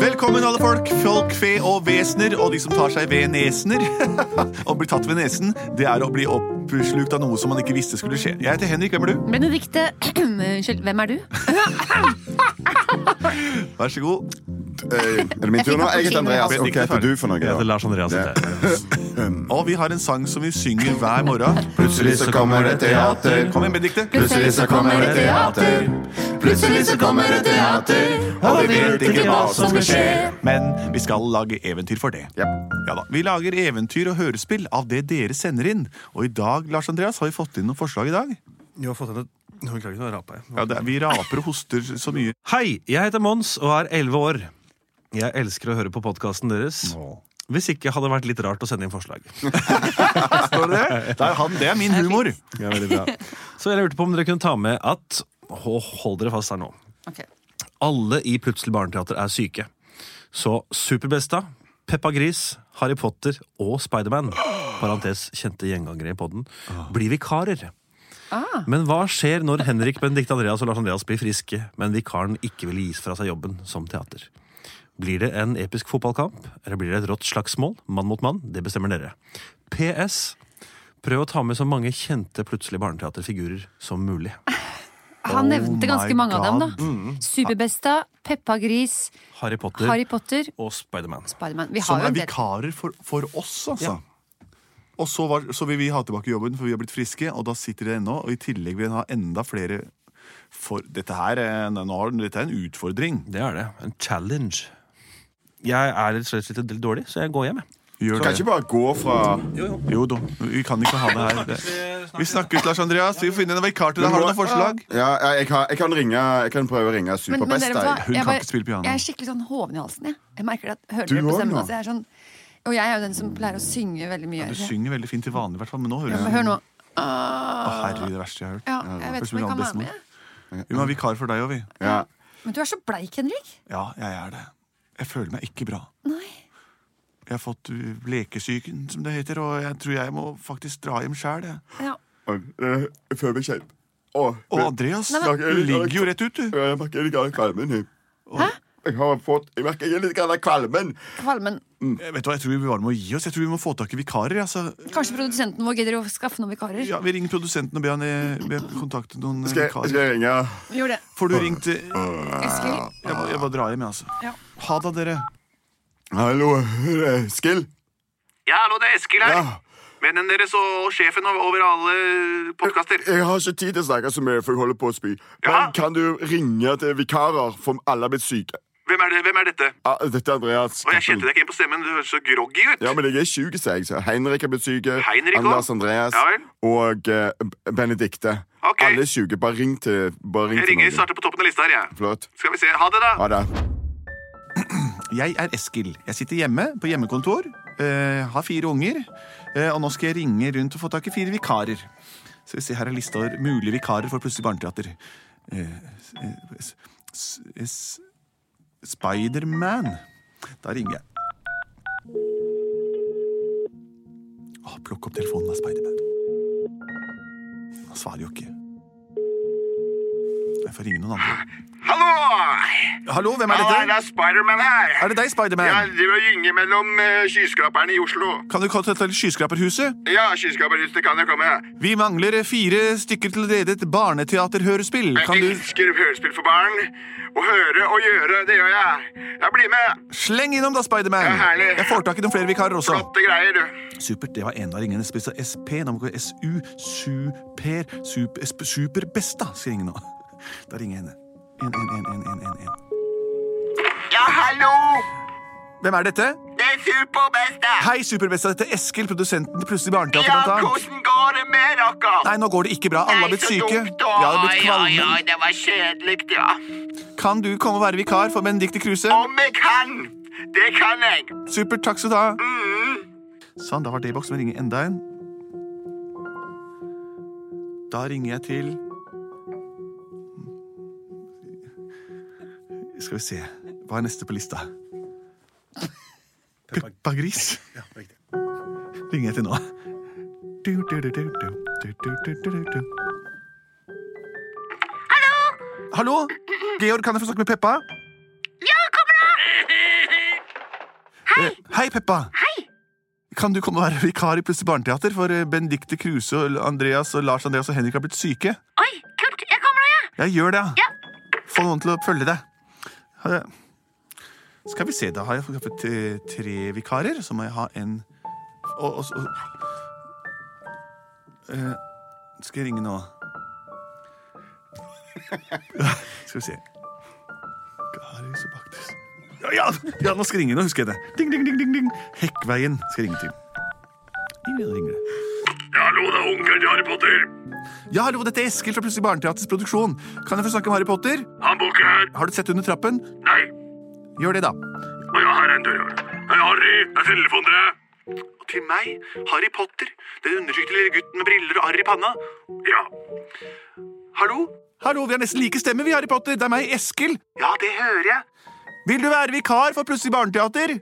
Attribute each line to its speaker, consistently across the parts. Speaker 1: Velkommen, alle folk. Folk, fe og vesener. Og de som tar seg ved nesener. Å bli tatt ved nesen, det er å bli oppslukt av noe som man ikke visste skulle skje. Jeg heter Henrik. Hvem er du?
Speaker 2: Benedikte, unnskyld, hvem er du?
Speaker 1: Vær så god.
Speaker 3: Eh, Er det min tur nå? Jeg heter Andreas.
Speaker 1: Jeg fikk
Speaker 3: Ok, heter du for noe?
Speaker 4: Jeg heter
Speaker 3: da?
Speaker 4: Lars Andreas.
Speaker 3: Ja.
Speaker 4: heter jeg.
Speaker 1: Og vi har en sang som vi synger hver morgen.
Speaker 3: Plutselig så kommer det teater.
Speaker 1: Kom igjen, Benedikte.
Speaker 3: Plutselig så kommer det teater. Plutselig så kommer det teater. Og vi vet ikke hva som skal skje.
Speaker 1: Men vi skal lage eventyr for det.
Speaker 3: Ja.
Speaker 1: Ja da, Vi lager eventyr og hørespill av det dere sender inn. Og i dag Lars Andreas, har vi fått inn noen forslag i dag?
Speaker 5: Jeg har fått henne Nå klarer jeg ikke å rape. jeg.
Speaker 1: Ja, det, er- Vi raper og hoster så mye.
Speaker 4: Hei, jeg heter Mons og er 11 år. Jeg elsker å høre på podkasten deres. Hvis ikke hadde det vært litt rart å sende inn forslag.
Speaker 1: Står det det? Det er, han, det er min humor.
Speaker 3: Ja, veldig bra.
Speaker 4: Så jeg lurte på om dere kunne ta med at Hå, Hold dere fast her nå.
Speaker 2: Ok.
Speaker 4: Alle i Plutselig barneteater er syke. Så Superbesta, Peppa Gris, Harry Potter og Spiderman parentes kjente gjengangere i podden, blir vikarer. Men hva skjer når Henrik, Benedicte Andreas og Lars Andreas blir friske, men vikaren ikke vil gis fra seg jobben som teater? Blir det en episk fotballkamp, eller blir det et rått slagsmål? Mann mot mann, det bestemmer dere. PS. Prøv å ta med så mange kjente plutselig barneteaterfigurer som mulig.
Speaker 1: Oh
Speaker 2: Han
Speaker 1: my
Speaker 2: nevnte ganske mange av dem,
Speaker 1: God. Mm.
Speaker 2: da. Superbesta, Peppa Gris,
Speaker 4: Harry Potter
Speaker 2: Harry Potter,
Speaker 4: og Spiderman.
Speaker 2: Spiderman. Vi
Speaker 1: Som
Speaker 2: har jo
Speaker 1: er
Speaker 2: en del.
Speaker 1: vikarer for, for oss, altså. Og så, var, så vil vi ha tilbake jobben, for vi har blitt friske, og da sitter det ennå. Og i tillegg vil vi ha enda flere for Dette her er, en- nå har- dette er en utfordring.
Speaker 4: Det er det. En challenge. Jeg er rett og slett litt dårlig, så jeg går hjem. jeg.
Speaker 1: Gjør
Speaker 3: Kan
Speaker 1: det.
Speaker 3: ikke bare gå fra
Speaker 1: Jo da, vi kan ikke ha det her. Det- Vi snakkes, Lars Andreas. Vi får finne en vikar til deg. Har du noen forslag?
Speaker 3: Ja, ja, jeg, kan, jeg, kan ringe, jeg kan prøve å ringe
Speaker 2: Men, men dere, vet du hva?
Speaker 3: Superbesta.
Speaker 1: Hun
Speaker 2: Jeg
Speaker 1: kan ikke spille piano.
Speaker 2: Jeg er skikkelig sånn hoven i halsen. Jeg, jeg merker det at hører
Speaker 3: Du
Speaker 2: dere på
Speaker 3: også,
Speaker 2: stemmen.
Speaker 3: nå?
Speaker 2: Altså, jeg er sånn, og jeg er jo den som pleier å synge veldig mye.
Speaker 1: Du synger veldig fint til vanlig, i hvert fall, men nå høres
Speaker 2: Ja,
Speaker 1: det
Speaker 2: men Hør nå.
Speaker 1: Å,
Speaker 2: Ah,
Speaker 1: herregud, det verste jeg har hørt.
Speaker 2: ja, jeg vet ikke om jeg kan være med. jeg.
Speaker 1: Vi må ha vikar for deg òg, vi.
Speaker 3: Ja.
Speaker 2: Men du er så bleik, Henrik.
Speaker 1: Ja, jeg er det. Jeg føler meg ikke bra.
Speaker 2: Nei.
Speaker 1: Jeg har fått uh, lekesyken, som det heter, og jeg tror jeg må faktisk dra hjem sjæl. jeg.
Speaker 2: Ja.
Speaker 3: Og, eh, Jeg føler meg kjent. Å,
Speaker 1: Og Andreas,
Speaker 2: Nei, men-
Speaker 1: du ligger jo rett ut, du.
Speaker 3: jeg merker litt grann kvalmen. jeg. Jeg har fått Jeg merker jeg er litt grann kvalmen.
Speaker 2: Kvalmen.
Speaker 1: Jeg Eh, vet du hva, Jeg tror vi bare må gi oss. Jeg tror vi må få tak i vikarer. altså.
Speaker 2: Kanskje produsenten vår gidder å skaffe noen vikarer.
Speaker 1: Ja, Vi ringer produsenten og ber han eh, be kontakte noen eh,
Speaker 3: Skal jeg, skal
Speaker 1: vikarer.
Speaker 3: jeg ringe
Speaker 2: Gjør det.
Speaker 1: Får du ringt eh, Jeg
Speaker 2: Eskil.
Speaker 1: må, jeg må dra hjem, jeg, altså.
Speaker 2: Ja.
Speaker 1: Ha det, dere.
Speaker 3: Hallo, eh, Skill?
Speaker 1: Ja, hallo, det er Eskil
Speaker 3: Ja.
Speaker 1: Vennen deres og sjefen over alle podkaster.
Speaker 3: Jeg har ikke tid til å snakke så mye, for jeg holder på å spy. Men
Speaker 1: Ja.
Speaker 3: kan du ringe til vikarer, for alle er blitt syke?
Speaker 1: Hvem, er dette?
Speaker 3: Ja, dette er Andreas.
Speaker 1: deg ikke igjen på stemmen. Du høres så groggy ut.
Speaker 3: Ja, men jeg er syk, sier jeg. Så Henrik er blitt syk.
Speaker 1: Heinrik også?
Speaker 3: Anders Andreas
Speaker 1: Ja vel.
Speaker 3: og eh, B- Benedikte.
Speaker 1: Ok.
Speaker 3: Alle er syke. Bare ring til bare ring til noen.
Speaker 1: på toppen av lista her, jeg.
Speaker 3: Flott.
Speaker 1: Skal vi se. Ha det, da.
Speaker 3: Ha det.
Speaker 1: Jeg er Eskil. Jeg sitter hjemme på hjemmekontor. eh, har fire unger. eh, og nå skal jeg ringe rundt og få tak i fire vikarer. Så vi ser her er lista over mulige vikarer for Plutselig barneteater. Eh, s- s- s- Spiderman. Da ringer jeg. Å, plukk opp telefonen, da, Spiderman. Han svarer jo ikke. Jeg får ringe noen andre.
Speaker 6: Hallo!
Speaker 1: Hallo, hvem er
Speaker 6: Ja, det
Speaker 1: dette?
Speaker 6: er Spiderman her.
Speaker 1: Er det deg, Spiderman?
Speaker 6: Jeg driver og gynger mellom eh, skyskraperne i Oslo.
Speaker 1: Kan du komme til Skyskraperhuset?
Speaker 6: Ja, skyskraperhuset kan jeg komme.
Speaker 1: Vi mangler fire stykker til å lede et barneteaterhørespill. Kan du
Speaker 6: Jeg elsker hørespill for barn. Å høre og gjøre, det gjør jeg. Jeg blir med.
Speaker 1: Sleng innom, da, Spiderman!
Speaker 6: Ja, herlig.
Speaker 1: Jeg får tak i noen flere vikarer også.
Speaker 6: Flotte greier, du.
Speaker 1: Supert. Det var en av ringene. Spissa SP. Nå må vi gå SU. Super. Super, SP, superbesta, skal jeg ringe nå. Da ringer jeg henne. En, en, en, en, en, en, en.
Speaker 6: Ja, hallo!
Speaker 1: Hvem er dette?
Speaker 6: Det er Superbesta.
Speaker 1: Hei, Superbesta. Dette er Eskil, produsenten til Plutselig barneteater,
Speaker 6: Ja,
Speaker 1: blant annet.
Speaker 6: hvordan går det med dere?
Speaker 1: Nei, nå går det ikke bra. Alle har blitt syke. Ja, det har blitt
Speaker 6: Ja,
Speaker 1: kvalme.
Speaker 6: ja, det var kjedelig, ja.
Speaker 1: Kan du komme og være vikar for Benedicte Kruse?
Speaker 6: Om jeg kan. Det kan jeg.
Speaker 1: Supert. Takk skal du ha. Sånn, da var det boksen. Vi ringer enda en. Da ringer jeg til Skal vi se Hva er neste på lista? Peppa Gris. Ringer jeg til nå. Du, du, du, du, du, du, du, du, du, du, du. Hallo! Georg, kan jeg få snakke med Peppa?
Speaker 6: Ja, kom da!
Speaker 1: Hei! Hei, Peppa! Hei! Kan du komme og være vikar i Plutselig barneteater? For eh, Benedicte Kruse og Andreas og Lars Andreas og Henrik har blitt syke.
Speaker 7: Oi, kult! Jeg kommer nå, jeg!
Speaker 1: Jeg gjør det, ja.
Speaker 7: Ja.
Speaker 1: Få noen til å følge deg. Ha det. Skal vi se, da har jeg skaffet eh, tre vikarer. Så må jeg ha en og, og, og. Eh, Skal jeg ringe nå? skal vi se. Karius og Baktus. Ja, ja, ja, nå skal jeg ringe. Nå husker jeg det. Ding, ding, ding, ding, ding. Hekkveien skal jeg ringe til. Ding, ding, ding.
Speaker 8: Hallo, det er onkelen til Harry Potter.
Speaker 1: Ja, hallo, dette er Eskil fra Plutselig barneteaters produksjon. Kan jeg få snakke om Harry Potter?
Speaker 8: Han bor ikke her.
Speaker 1: Har du sett under trappen?
Speaker 8: Nei.
Speaker 1: Gjør det, da.
Speaker 8: Og ja, her er en dør. Hei, Harry, jeg teller for dere.
Speaker 1: Og til meg, Harry Potter, den undertrykte lille gutten med briller og arr i panna.
Speaker 8: Ja.
Speaker 1: Hallo? Hallo, vi har nesten like stemmer, vi, Harry Potter. Det er meg, Eskil.
Speaker 8: Ja, det hører jeg.
Speaker 1: Vil du være vikar for Plutselig barneteater?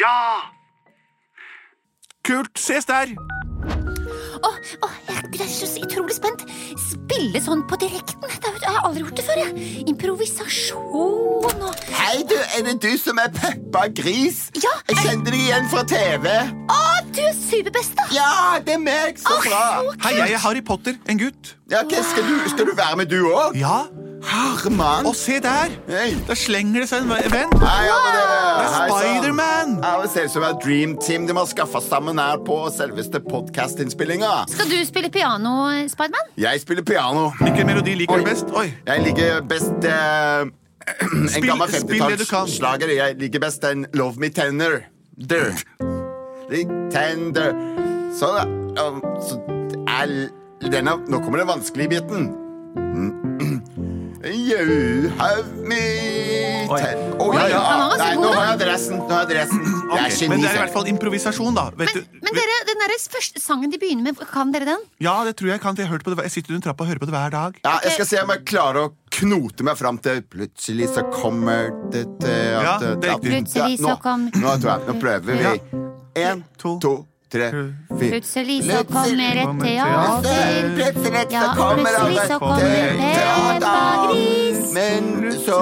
Speaker 8: Ja.
Speaker 1: Kult, ses der.
Speaker 7: Åh, åh, jeg jeg er så utrolig spent. Spille sånn på direkten. Det er jo- Jeg har aldri gjort det før. jeg. Improvisasjon og
Speaker 3: Hei, du, er det du som er Peppa Gris?
Speaker 7: Ja,
Speaker 3: Jeg
Speaker 7: jeg-
Speaker 3: kjente deg igjen fra TV.
Speaker 7: Å, du er superbest, da!
Speaker 3: Ja, det er meg! Så
Speaker 7: Åh,
Speaker 3: bra!
Speaker 7: så
Speaker 1: Hei, jeg er Harry Potter, en gutt.
Speaker 3: Ja, ok, skal, du, skal du være med, du òg?
Speaker 1: Ja,
Speaker 3: Herman.
Speaker 1: og se der.
Speaker 3: Hei.
Speaker 1: Der slenger det seg en ve- venn.
Speaker 3: Hei, alle dere. Hei, sann.
Speaker 1: Spiderman!
Speaker 3: Ja, Det ser ut som et dream team de har skaffa sammen her på selveste podkastinnspillinga.
Speaker 7: Skal du spille piano, Spiderman?
Speaker 3: Jeg spiller piano.
Speaker 1: Hvilken melodi liker
Speaker 3: Oi.
Speaker 1: du best? Oi.
Speaker 3: Jeg liker best eh, En
Speaker 1: Spill-
Speaker 3: gammel
Speaker 1: spill det du kan.
Speaker 3: 50-tallsslager. Jeg liker best den Love Me Tender. Der. Litt Tender. Sånn, ja. Um, Så er denne Nå kommer den vanskelige biten. Mm. You have me ten... Oi, ja, ja.
Speaker 7: han var ganske
Speaker 3: Nei,
Speaker 7: god,
Speaker 3: nå
Speaker 7: da.
Speaker 3: har jeg dressen. Nå har jeg dressen. Jeg er
Speaker 1: Ok, Men
Speaker 3: geni.
Speaker 1: det er i hvert fall improvisasjon, da. Vet
Speaker 7: Men,
Speaker 1: du-
Speaker 7: men dere, den der første sangen de begynner med, kan dere den?
Speaker 1: Ja, det tror jeg kan, for jeg, har hørt på det. hver- jeg sitter under trappa og hører på det hver dag.
Speaker 3: Ja, jeg skal se om jeg klarer å knote meg fram til Plutselig så kommer det til
Speaker 1: Ja,
Speaker 3: at
Speaker 1: det er riktig.
Speaker 7: Plutselig
Speaker 3: nå,
Speaker 7: så kom-
Speaker 3: Nå, tror jeg, nå prøver vi.
Speaker 1: Ja.
Speaker 3: Én,
Speaker 1: To. Eh,
Speaker 3: to, tre, fire.
Speaker 7: Plutselig så kommer et
Speaker 1: kommer
Speaker 7: teater.
Speaker 1: teater.
Speaker 3: Plutselig så
Speaker 7: Ja,
Speaker 3: kommer
Speaker 7: plutselig
Speaker 3: alle
Speaker 7: så kommer
Speaker 3: til
Speaker 7: Peppa Gris.
Speaker 3: Men så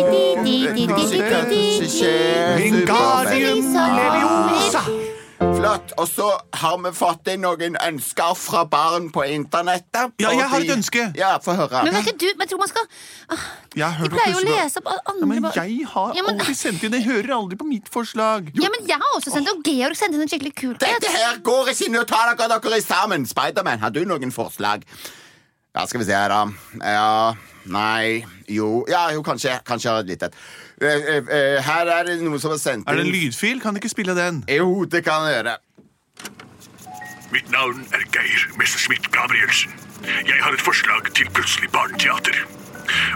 Speaker 7: Bi-di-di-di-di-di-di-di-di.
Speaker 3: Kanskje, kanskje skjer
Speaker 1: Wingardium
Speaker 7: Plutselig så
Speaker 1: leviosa!
Speaker 3: Flott. Og så har vi fått inn noen ønsker fra barn på internettet.
Speaker 1: Ja, jeg har et
Speaker 3: Og de-
Speaker 1: ønske.
Speaker 3: Ja, Få høre.
Speaker 7: Men vet ikke du, men jeg tror man skal ah,
Speaker 1: Jeg har
Speaker 7: De
Speaker 1: hørt om
Speaker 7: pleier jo å
Speaker 1: Plutselig-
Speaker 7: lese opp alle andre
Speaker 1: Ja, men
Speaker 7: bare-
Speaker 1: jeg har
Speaker 7: Ja, men-
Speaker 1: aldri sendt inn Jeg hører aldri på mitt forslag.
Speaker 7: Ja, men jeg har også sendt det, og Georg sendte inn en skikkelig kul
Speaker 3: Dette her går ikke nå tar dere dere sammen. Spiderman, har du noen forslag? Ja, skal vi se her, da. Ja, nei, jo Ja, jo, kanskje. Kanskje jeg har et lite et. Eh, eh, eh, Her er det noe som er sendt
Speaker 1: Er det en
Speaker 3: inn.
Speaker 1: lydfil? Kan du ikke spille den?
Speaker 3: Jo, det kan jeg gjøre.
Speaker 8: Mitt navn er Geir Messerschmidt Gabrielsen. Jeg har et forslag til plutselig barneteater.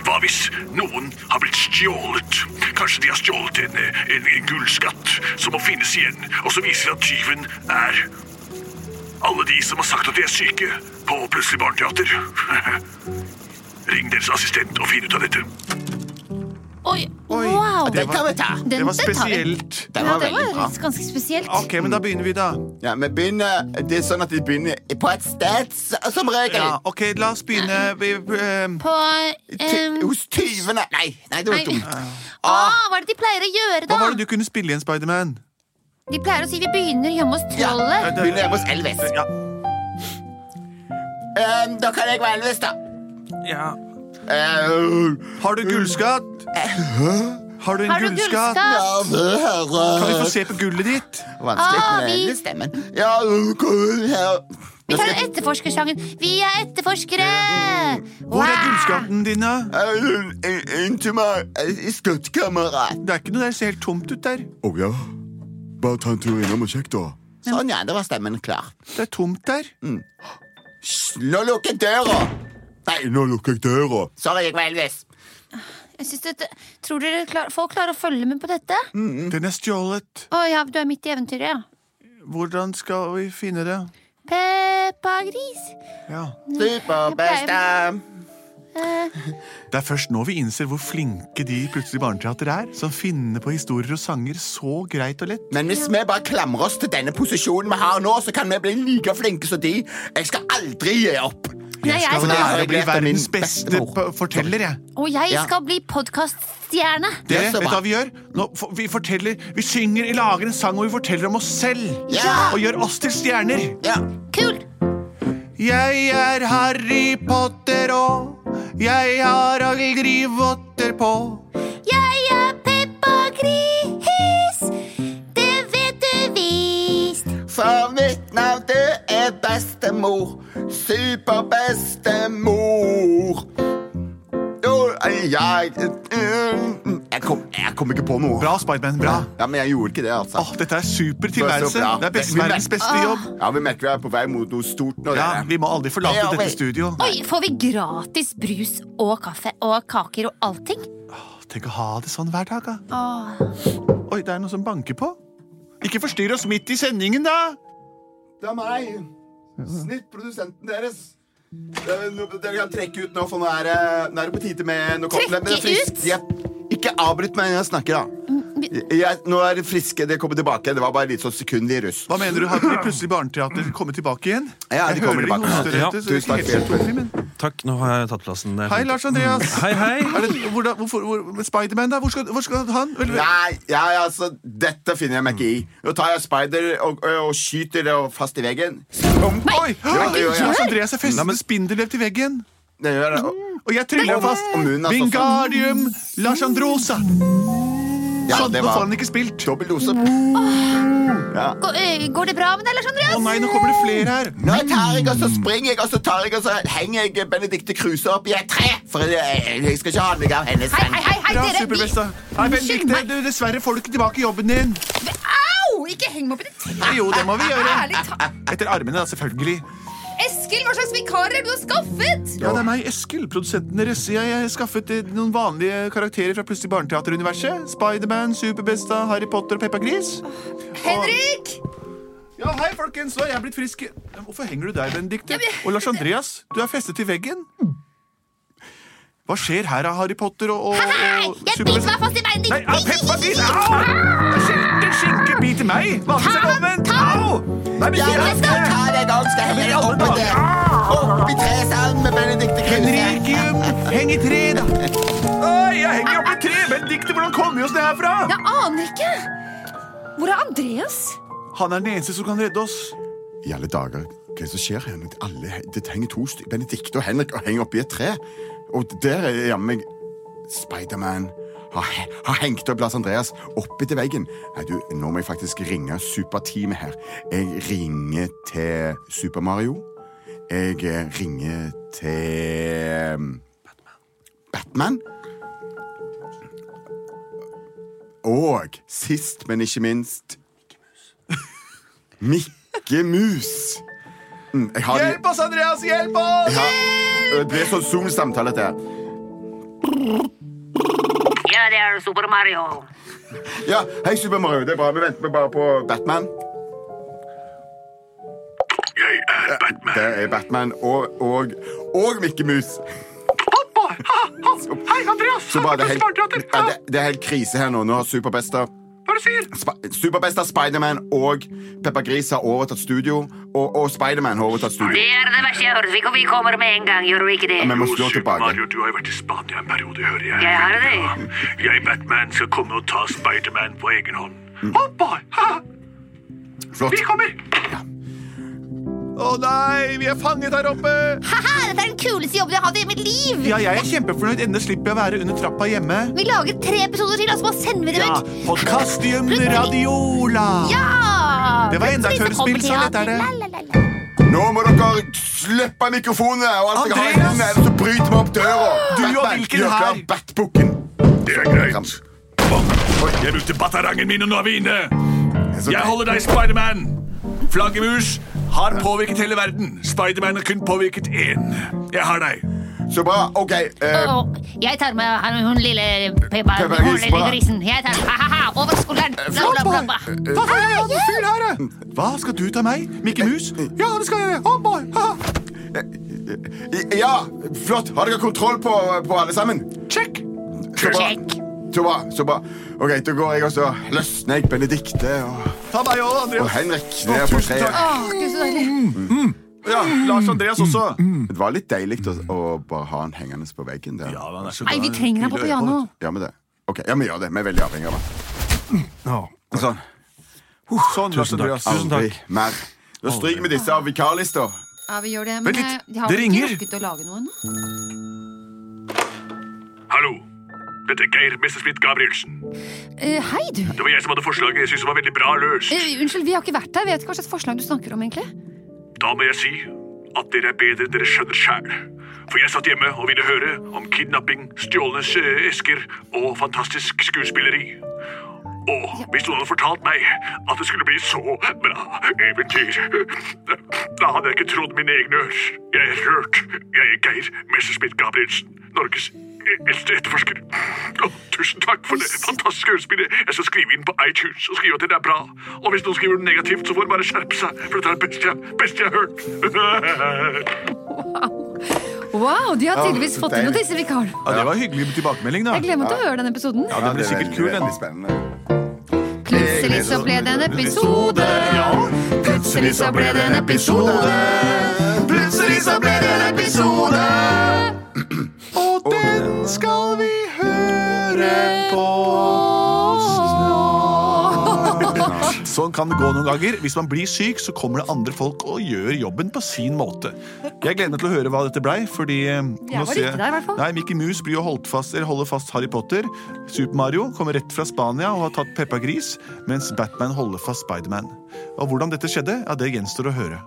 Speaker 8: Hva hvis noen har blitt stjålet? Kanskje de har stjålet en, en, en gullskatt som må finnes igjen, og som viser at tyven er alle de som har sagt at de er syke på Plutselig barneteater. Ring deres assistent og finn ut av dette.
Speaker 7: Oi, wow!
Speaker 1: det
Speaker 3: Den
Speaker 1: var-
Speaker 3: kan vi ta.
Speaker 7: Den-
Speaker 1: Det var
Speaker 7: den tar vi.
Speaker 1: spesielt.
Speaker 3: Den
Speaker 7: Ja,
Speaker 3: var
Speaker 7: det
Speaker 3: veldig
Speaker 7: var
Speaker 3: bra.
Speaker 7: ganske spesielt.
Speaker 1: Ok, men da begynner vi, da.
Speaker 3: Ja, vi begynner, Det er sånn at vi begynner på et sted, s- som regel.
Speaker 1: Ja, ok, La oss begynne vi, ehm,
Speaker 7: På
Speaker 3: Ty-
Speaker 7: um,
Speaker 3: Hos tyvene. Nei, nei, det var
Speaker 7: Nei.
Speaker 3: dumt.
Speaker 7: ah, Hva er det de pleier å gjøre,
Speaker 1: Hva
Speaker 7: da?
Speaker 1: var det du kunne spille igjen, Spiderman?
Speaker 7: De pleier å si 'vi begynner hjemme hos
Speaker 3: Ja,
Speaker 7: trollet'.
Speaker 3: begynner hjemme hos Elvis.
Speaker 1: Ja.
Speaker 3: Eh, da kan jeg være Elvis, da.
Speaker 5: Ja.
Speaker 3: Uh,
Speaker 1: Har du gullskatt? Har du en
Speaker 7: Mm. Eh. Har du
Speaker 1: gullskatt?
Speaker 7: gullskatt?
Speaker 3: ja, det her,
Speaker 1: Kan vi
Speaker 3: eh,
Speaker 1: få se på gullet ditt?
Speaker 3: Vanskelig
Speaker 7: Ah,
Speaker 3: med
Speaker 7: vi-
Speaker 3: hele stemmen. Ja, cool, ja.
Speaker 7: Vi tar jo etterforskersangen. Vi er etterforskere!
Speaker 1: Mm. Hvor er
Speaker 7: Wow!
Speaker 1: gullskatten din, da?
Speaker 3: Inn til meg, skattkamerat.
Speaker 1: Det er ikke noe der. Det ser helt tomt ut der.
Speaker 3: Å ja. Bare ta en tur innom og sjekk, da. Sånn, ja. Da var stemmen klar.
Speaker 1: Det er tomt der.
Speaker 3: Hysj, Nå lukker jeg døra! Nei, nå lukker jeg døra. Sorry, jeg var Elvis.
Speaker 7: Jeg synes dette, tror dere klar, folk klarer å følge med på dette? Å
Speaker 1: Den er stjålet.
Speaker 7: ja, du er midt i eventyret, ja.
Speaker 1: Hvordan skal vi finne det?
Speaker 7: Peppa Gris.
Speaker 1: Ja.
Speaker 7: Mm.
Speaker 3: Superbesta.
Speaker 1: Det er først nå vi innser hvor flinke de i plutselig barneteater er, som finner på historier og sanger så greit og lett.
Speaker 3: Men hvis vi bare klamrer oss til denne posisjonen vi har nå, så kan vi bli like flinke som de. Jeg skal aldri gi opp.
Speaker 7: Nei, jeg
Speaker 1: For
Speaker 7: skal,
Speaker 1: altså, det er
Speaker 3: jeg
Speaker 1: å bli
Speaker 3: vet om min
Speaker 1: verdens beste
Speaker 3: bestemor.
Speaker 1: p- forteller, jeg.
Speaker 7: og jeg
Speaker 3: Ja.
Speaker 7: skal bli podkaststjerne.
Speaker 1: Dere,
Speaker 3: Ja,
Speaker 1: vet
Speaker 3: så
Speaker 1: du
Speaker 3: bra.
Speaker 1: hva vi gjør? Nå, for, vi forteller, vi synger, vi lager en sang hvor vi forteller om oss selv.
Speaker 3: Ja.
Speaker 1: Og gjør oss til stjerner.
Speaker 3: Ja.
Speaker 7: Kult!
Speaker 1: Jeg er Harry Potter og jeg har aldri votter på.
Speaker 7: Jeg er Peppa Gris. Det vet du visst.
Speaker 3: For mitt navn, det er bestemor. Superbestemor. Jo, jeg Jeg kom, jeg kom ikke på noe.
Speaker 1: Bra, Spiderman. Bra.
Speaker 3: Ja, Men jeg gjorde ikke det, altså.
Speaker 1: Åh, dette er super
Speaker 3: Det
Speaker 1: tilværelse.
Speaker 3: er så bra.
Speaker 1: Det er best,
Speaker 3: Det- vi-
Speaker 1: verdens beste jobb.
Speaker 3: Ja, Vi merker vi er på vei mot noe stort nå.
Speaker 1: Ja,
Speaker 3: dere.
Speaker 1: Vi må aldri forlate
Speaker 3: Ja,
Speaker 1: dette
Speaker 3: men-
Speaker 1: studio.
Speaker 7: Oi, får vi gratis brus og kaffe og kaker og allting?
Speaker 1: Tenk å ha det sånn hver dag, da. Oi, det er noen som banker på. Ikke forstyrr oss midt i sendingen, da!
Speaker 3: Det er meg. Snittprodusenten deres. Eh, nå- Dere kan trekke ut nå, for nå er det, nå er det på tide med noe
Speaker 7: Trekke
Speaker 3: men det er friskt.
Speaker 7: ut? Mm,
Speaker 3: Jepp. Ikke avbryt meg når jeg snakker, da. Jeg, nå er det friske. Det kommer tilbake. Det var bare litt sånn sekund i russ.
Speaker 1: Hva mener du, har de plutselig barneteater kommet tilbake igjen?
Speaker 3: Ja, de
Speaker 1: jeg
Speaker 3: kommer
Speaker 1: hører
Speaker 3: tilbake.
Speaker 1: de hoster
Speaker 4: Ja,
Speaker 1: ute, så det
Speaker 3: tusen
Speaker 1: er
Speaker 3: takk
Speaker 1: ikke helt
Speaker 3: for
Speaker 1: utrolig, men...
Speaker 4: Takk, nå har jeg tatt plassen. Det er
Speaker 1: Hei,
Speaker 4: fint.
Speaker 1: Lars Andreas.
Speaker 4: Hei,
Speaker 1: Er
Speaker 4: hei.
Speaker 1: det, hvor, da- hvorfor, hvor, Spiderman, da? Hvor skal, hvor skal han? Vel,
Speaker 3: Nei, ja, altså, dette finner jeg meg ikke i. Nå tar jeg spider og, og skyter det fast i veggen. Om-
Speaker 1: Oi!
Speaker 3: Ja, det gjør jeg.
Speaker 1: Lars Andreas er festet
Speaker 4: Nei, men-
Speaker 1: med spindelvev til veggen.
Speaker 3: Det gjør jeg. Og-
Speaker 1: Og jeg tryller
Speaker 3: Og-
Speaker 1: ham fast.
Speaker 3: og munnen er sånn.
Speaker 1: Vingardium Lars Androsa.
Speaker 3: Ja,
Speaker 1: Sånn,
Speaker 3: det
Speaker 1: nå får
Speaker 3: var
Speaker 1: han ikke spilt. Å
Speaker 3: dobbel dose.
Speaker 7: Går,
Speaker 2: eh,
Speaker 7: øh, går det bra med deg, Lars Andreas?
Speaker 1: nei, nå kommer det flere her.
Speaker 3: Nå tar jeg, og så springer jeg, og så tar jeg, og så henger jeg Benedicte Kruse opp i et tre. For jeg, jeg skal ikke ha noe av hennes
Speaker 7: Hei, hei, hei, hei
Speaker 1: Bra,
Speaker 7: dere!
Speaker 1: superbesta. Hei, Benedikte,
Speaker 7: meg.
Speaker 1: du, dessverre får du ikke tilbake jobben din.
Speaker 2: Au! Ikke heng meg opp i det treet!
Speaker 1: Jo, det må vi
Speaker 2: Ærlig
Speaker 1: gjøre.
Speaker 2: talt.
Speaker 1: Etter armene, da, selvfølgelig.
Speaker 2: Eskil, hva slags vikarer er det du har skaffet?
Speaker 1: Ja, det er meg, Eskil, produsenten deres. Jeg har skaffet eh, noen vanlige karakterer fra plutselig barneteateruniverset. Spiderman, Superbesta, Harry Potter og Peppa Gris.
Speaker 2: Henrik!
Speaker 1: Ja, hei, folkens, nå er jeg blitt frisk. Hvorfor henger du der, Benedikte? Og Lars Andreas, du er festet til veggen. Hva skjer her av Harry Potter og, og,
Speaker 7: Hei,
Speaker 1: og
Speaker 7: jeg biter meg fast i Ah! beinet
Speaker 1: Nei, au, Peppa Gris! Au! Skilte skinke biter meg! Vanligvis er det omvendt. Au! Nei, men
Speaker 3: Jeg
Speaker 1: ikke
Speaker 3: skal
Speaker 1: raske!
Speaker 3: ta deg og skal henge deg opp i det. Opp i tresalen med Benedicte Kruse.
Speaker 1: Henrikium, eh, heng i tre, da. Oi, jeg henger opp i tre. Benedikte, hvordan kom vi oss ned herfra?
Speaker 2: Jeg aner ikke! Hvor er Andreas?
Speaker 1: Han er den eneste som kan redde oss.
Speaker 3: I alle dager, hva er det som skjer her? Når Alle, he- det henger to stykker, Benedicte og Henrik, og henger opp i et tre. Og der er jammen meg Spiderman har, he- har hengt opp Lars Andreas oppi til veggen. Nei, du, nå må jeg faktisk ringe superteamet her. Jeg ringer til Super Mario. Jeg eh, ringer til um, Batman. Og sist, men ikke minst Mikke Mus. Mm, Jeg har de-
Speaker 1: Hjelp oss, Andreas! Hjelp oss!
Speaker 3: ja. Det blir sånn Zoom-samtale, dette. her.
Speaker 6: Ja, det er Super Mario.
Speaker 3: Ja, Hei, Super Mario. Det er bra. Vi venter bare på Batman.
Speaker 8: Jeg er Batman.
Speaker 3: Det er Batman og, og, og Mikke Mus.
Speaker 8: Hei, Andreas.
Speaker 3: Så bare det, er
Speaker 8: Plutselig barneteater.
Speaker 3: helt, ja, det, det er helt krise her nå. Nå har Superbesta
Speaker 8: Hva er det du sier?
Speaker 3: Sp- Superbesta, Spiderman og Peppa Gris har overtatt studio. Og, og Spiderman har overtatt studio.
Speaker 6: Det er det verste jeg har hørt. Vi- Vi kommer med en gang, gjør vi ikke det?
Speaker 3: Ja, men må
Speaker 8: Jo,
Speaker 3: slå
Speaker 8: Super
Speaker 3: tilbake.
Speaker 8: Mario, du har jo vært i Spania en periode, hører jeg.
Speaker 6: Jeg har det.
Speaker 8: Ja. Jeg, Batman, skal komme og ta Spiderman på egen hånd. Hoppa! Ha!
Speaker 3: Flott.
Speaker 8: Vi kommer!
Speaker 1: Å nei, vi er fanget her oppe!
Speaker 7: Haha, dette er den kuleste jobben jeg har hatt i mitt liv!
Speaker 1: Ja, jeg er kjempefornøyd. Endelig slipper jeg å være under trappa hjemme.
Speaker 7: Vi lager tre episoder til, og så bare sender vi dem
Speaker 1: Ja,
Speaker 7: ut.
Speaker 1: Podkastium Radiola!
Speaker 7: Ja!
Speaker 1: Det var enda et
Speaker 7: Plutselig så kommer
Speaker 1: hørespill, så lett er det.
Speaker 7: teater. La, la, la, la.
Speaker 3: Nå må dere slippe mikrofonene! Og alt dere har i
Speaker 1: Andreas!
Speaker 3: hånden, ellers så bryter vi opp døra.
Speaker 1: Du og
Speaker 3: Batman,
Speaker 1: hvilken
Speaker 3: gjør klar
Speaker 1: her?
Speaker 3: Batbukken.
Speaker 8: Det er greit. Oi, Jeg brukte batarangen min, og nå er vi inne.
Speaker 3: Så
Speaker 8: Jeg holder deg, Spiderman. Flaggermus har påvirket hele verden. Spiderman har kun påvirket én. Jeg har deg.
Speaker 3: Så bra. OK. eh,
Speaker 7: Åh, jeg tar med han, hun lille Peppa,
Speaker 3: Peppa
Speaker 7: hun
Speaker 3: Gris,
Speaker 7: lille
Speaker 3: bra.
Speaker 7: grisen. Jeg tar ha-ha-ha over skulderen.
Speaker 1: Eh,
Speaker 7: Bla, bla, bla, bla.
Speaker 1: Hva skal jeg ha med fyr her? eh? Hva skal du ta meg? Mikke Mus? Ja, det skal jeg gjøre. Oh boy. Ha.
Speaker 3: Ja, flott. Har dere kontroll på, på alle sammen?
Speaker 1: Check.
Speaker 3: Så bra.
Speaker 7: Check.
Speaker 3: Så bra. så bra. OK, da går jeg og så løsner jeg Benedicte og,
Speaker 1: Ta meg òg,
Speaker 3: og
Speaker 1: Andreas.
Speaker 3: Henrik ned på
Speaker 1: tusen
Speaker 3: treet.
Speaker 1: takk.
Speaker 2: Åh, Gud, så deilig.
Speaker 1: Ja, Lars Andreas også.
Speaker 3: Det var litt deilig å, å bare ha han hengende på veggen der.
Speaker 1: Ja, men han er så
Speaker 2: Nei, vi
Speaker 1: glad i-
Speaker 2: trenger deg på
Speaker 1: i øyeblikk.
Speaker 2: piano.
Speaker 3: Ja, men det. Ok, ja, vi gjør det. Vi er veldig avhengig av han.
Speaker 1: Sånn,
Speaker 3: Sånn.
Speaker 1: Lars Andreas.
Speaker 4: Tusen
Speaker 3: Aldri
Speaker 4: takk.
Speaker 3: mer. Da stryker vi disse av vikarlista.
Speaker 2: Ja, vi gjør det, men
Speaker 1: Vent litt,
Speaker 2: eh, de har
Speaker 1: det
Speaker 2: vel ikke
Speaker 1: ringer.
Speaker 2: rukket å lage noe ennå.
Speaker 8: Hallo. Dette er Geir Messerschmidt Gabrielsen.
Speaker 2: Eh, hei, du.
Speaker 8: Det var jeg som hadde forslaget jeg syntes var veldig bra løst.
Speaker 2: Eh, unnskyld, vi har ikke vært der. Vet ikke hva slags forslag du snakker om, egentlig.
Speaker 8: Da må jeg si at dere er bedre enn dere skjønner sjæl. For jeg satt hjemme og ville høre om kidnapping, stjålne eh, esker og fantastisk skuespilleri. Og hvis noen hadde fortalt meg at det skulle bli så bra eventyr, da hadde jeg ikke trodd mine egne ører. Jeg er rørt. Jeg er Geir Messerschmidt Gabrielsen, Norges eldste etterforsker. Å, tusen takk for det fantastiske utspillet. Jeg skal skrive inn på iTunes og skrive at den er bra. Og hvis noen skriver den negativt, så får de bare skjerpe seg, for dette er det beste jeg, beste jeg har hørt.
Speaker 2: Wow, de har
Speaker 3: Ja,
Speaker 2: tydeligvis
Speaker 3: så
Speaker 2: fått inn noen
Speaker 3: deilig.
Speaker 2: disse vikarene.
Speaker 1: Ja, det var hyggelig tilbakemelding, da.
Speaker 2: Jeg gleder meg til å høre den episoden.
Speaker 1: Ja, det blir
Speaker 3: er
Speaker 1: sikkert
Speaker 3: veldig,
Speaker 1: kul, den.
Speaker 3: veldig spennende.
Speaker 2: Plutselig så ble det en episode, ja. Plutselig så ble det en episode.
Speaker 9: Plutselig så ble det en episode.
Speaker 1: Og den skal vi høre på snart. Sånn kan det gå noen ganger. Hvis man blir syk, så kommer det andre folk og gjør jobben på sin måte. Jeg gleder meg til å høre hva dette blei, fordi eh, nå
Speaker 2: var
Speaker 1: ser
Speaker 2: ikke der, i hvert fall.
Speaker 1: Nei, Mickey Mouse blir jo holdt fast, eller holder fast Harry Potter. Super Mario kommer rett fra Spania og har tatt Peppa Gris, mens Batman holder fast Spiderman. Og hvordan dette skjedde, ja, det gjenstår å høre.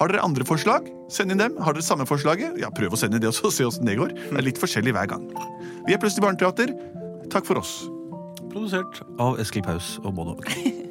Speaker 1: Har dere andre forslag? Send inn dem. Har dere samme forslaget? Ja, Prøv å sende inn det også, se åssen det går. Det er litt forskjellig hver gang. Vi er Plutselig barneteater. Takk for oss.
Speaker 4: Produsert av Eskil Paus og Både og.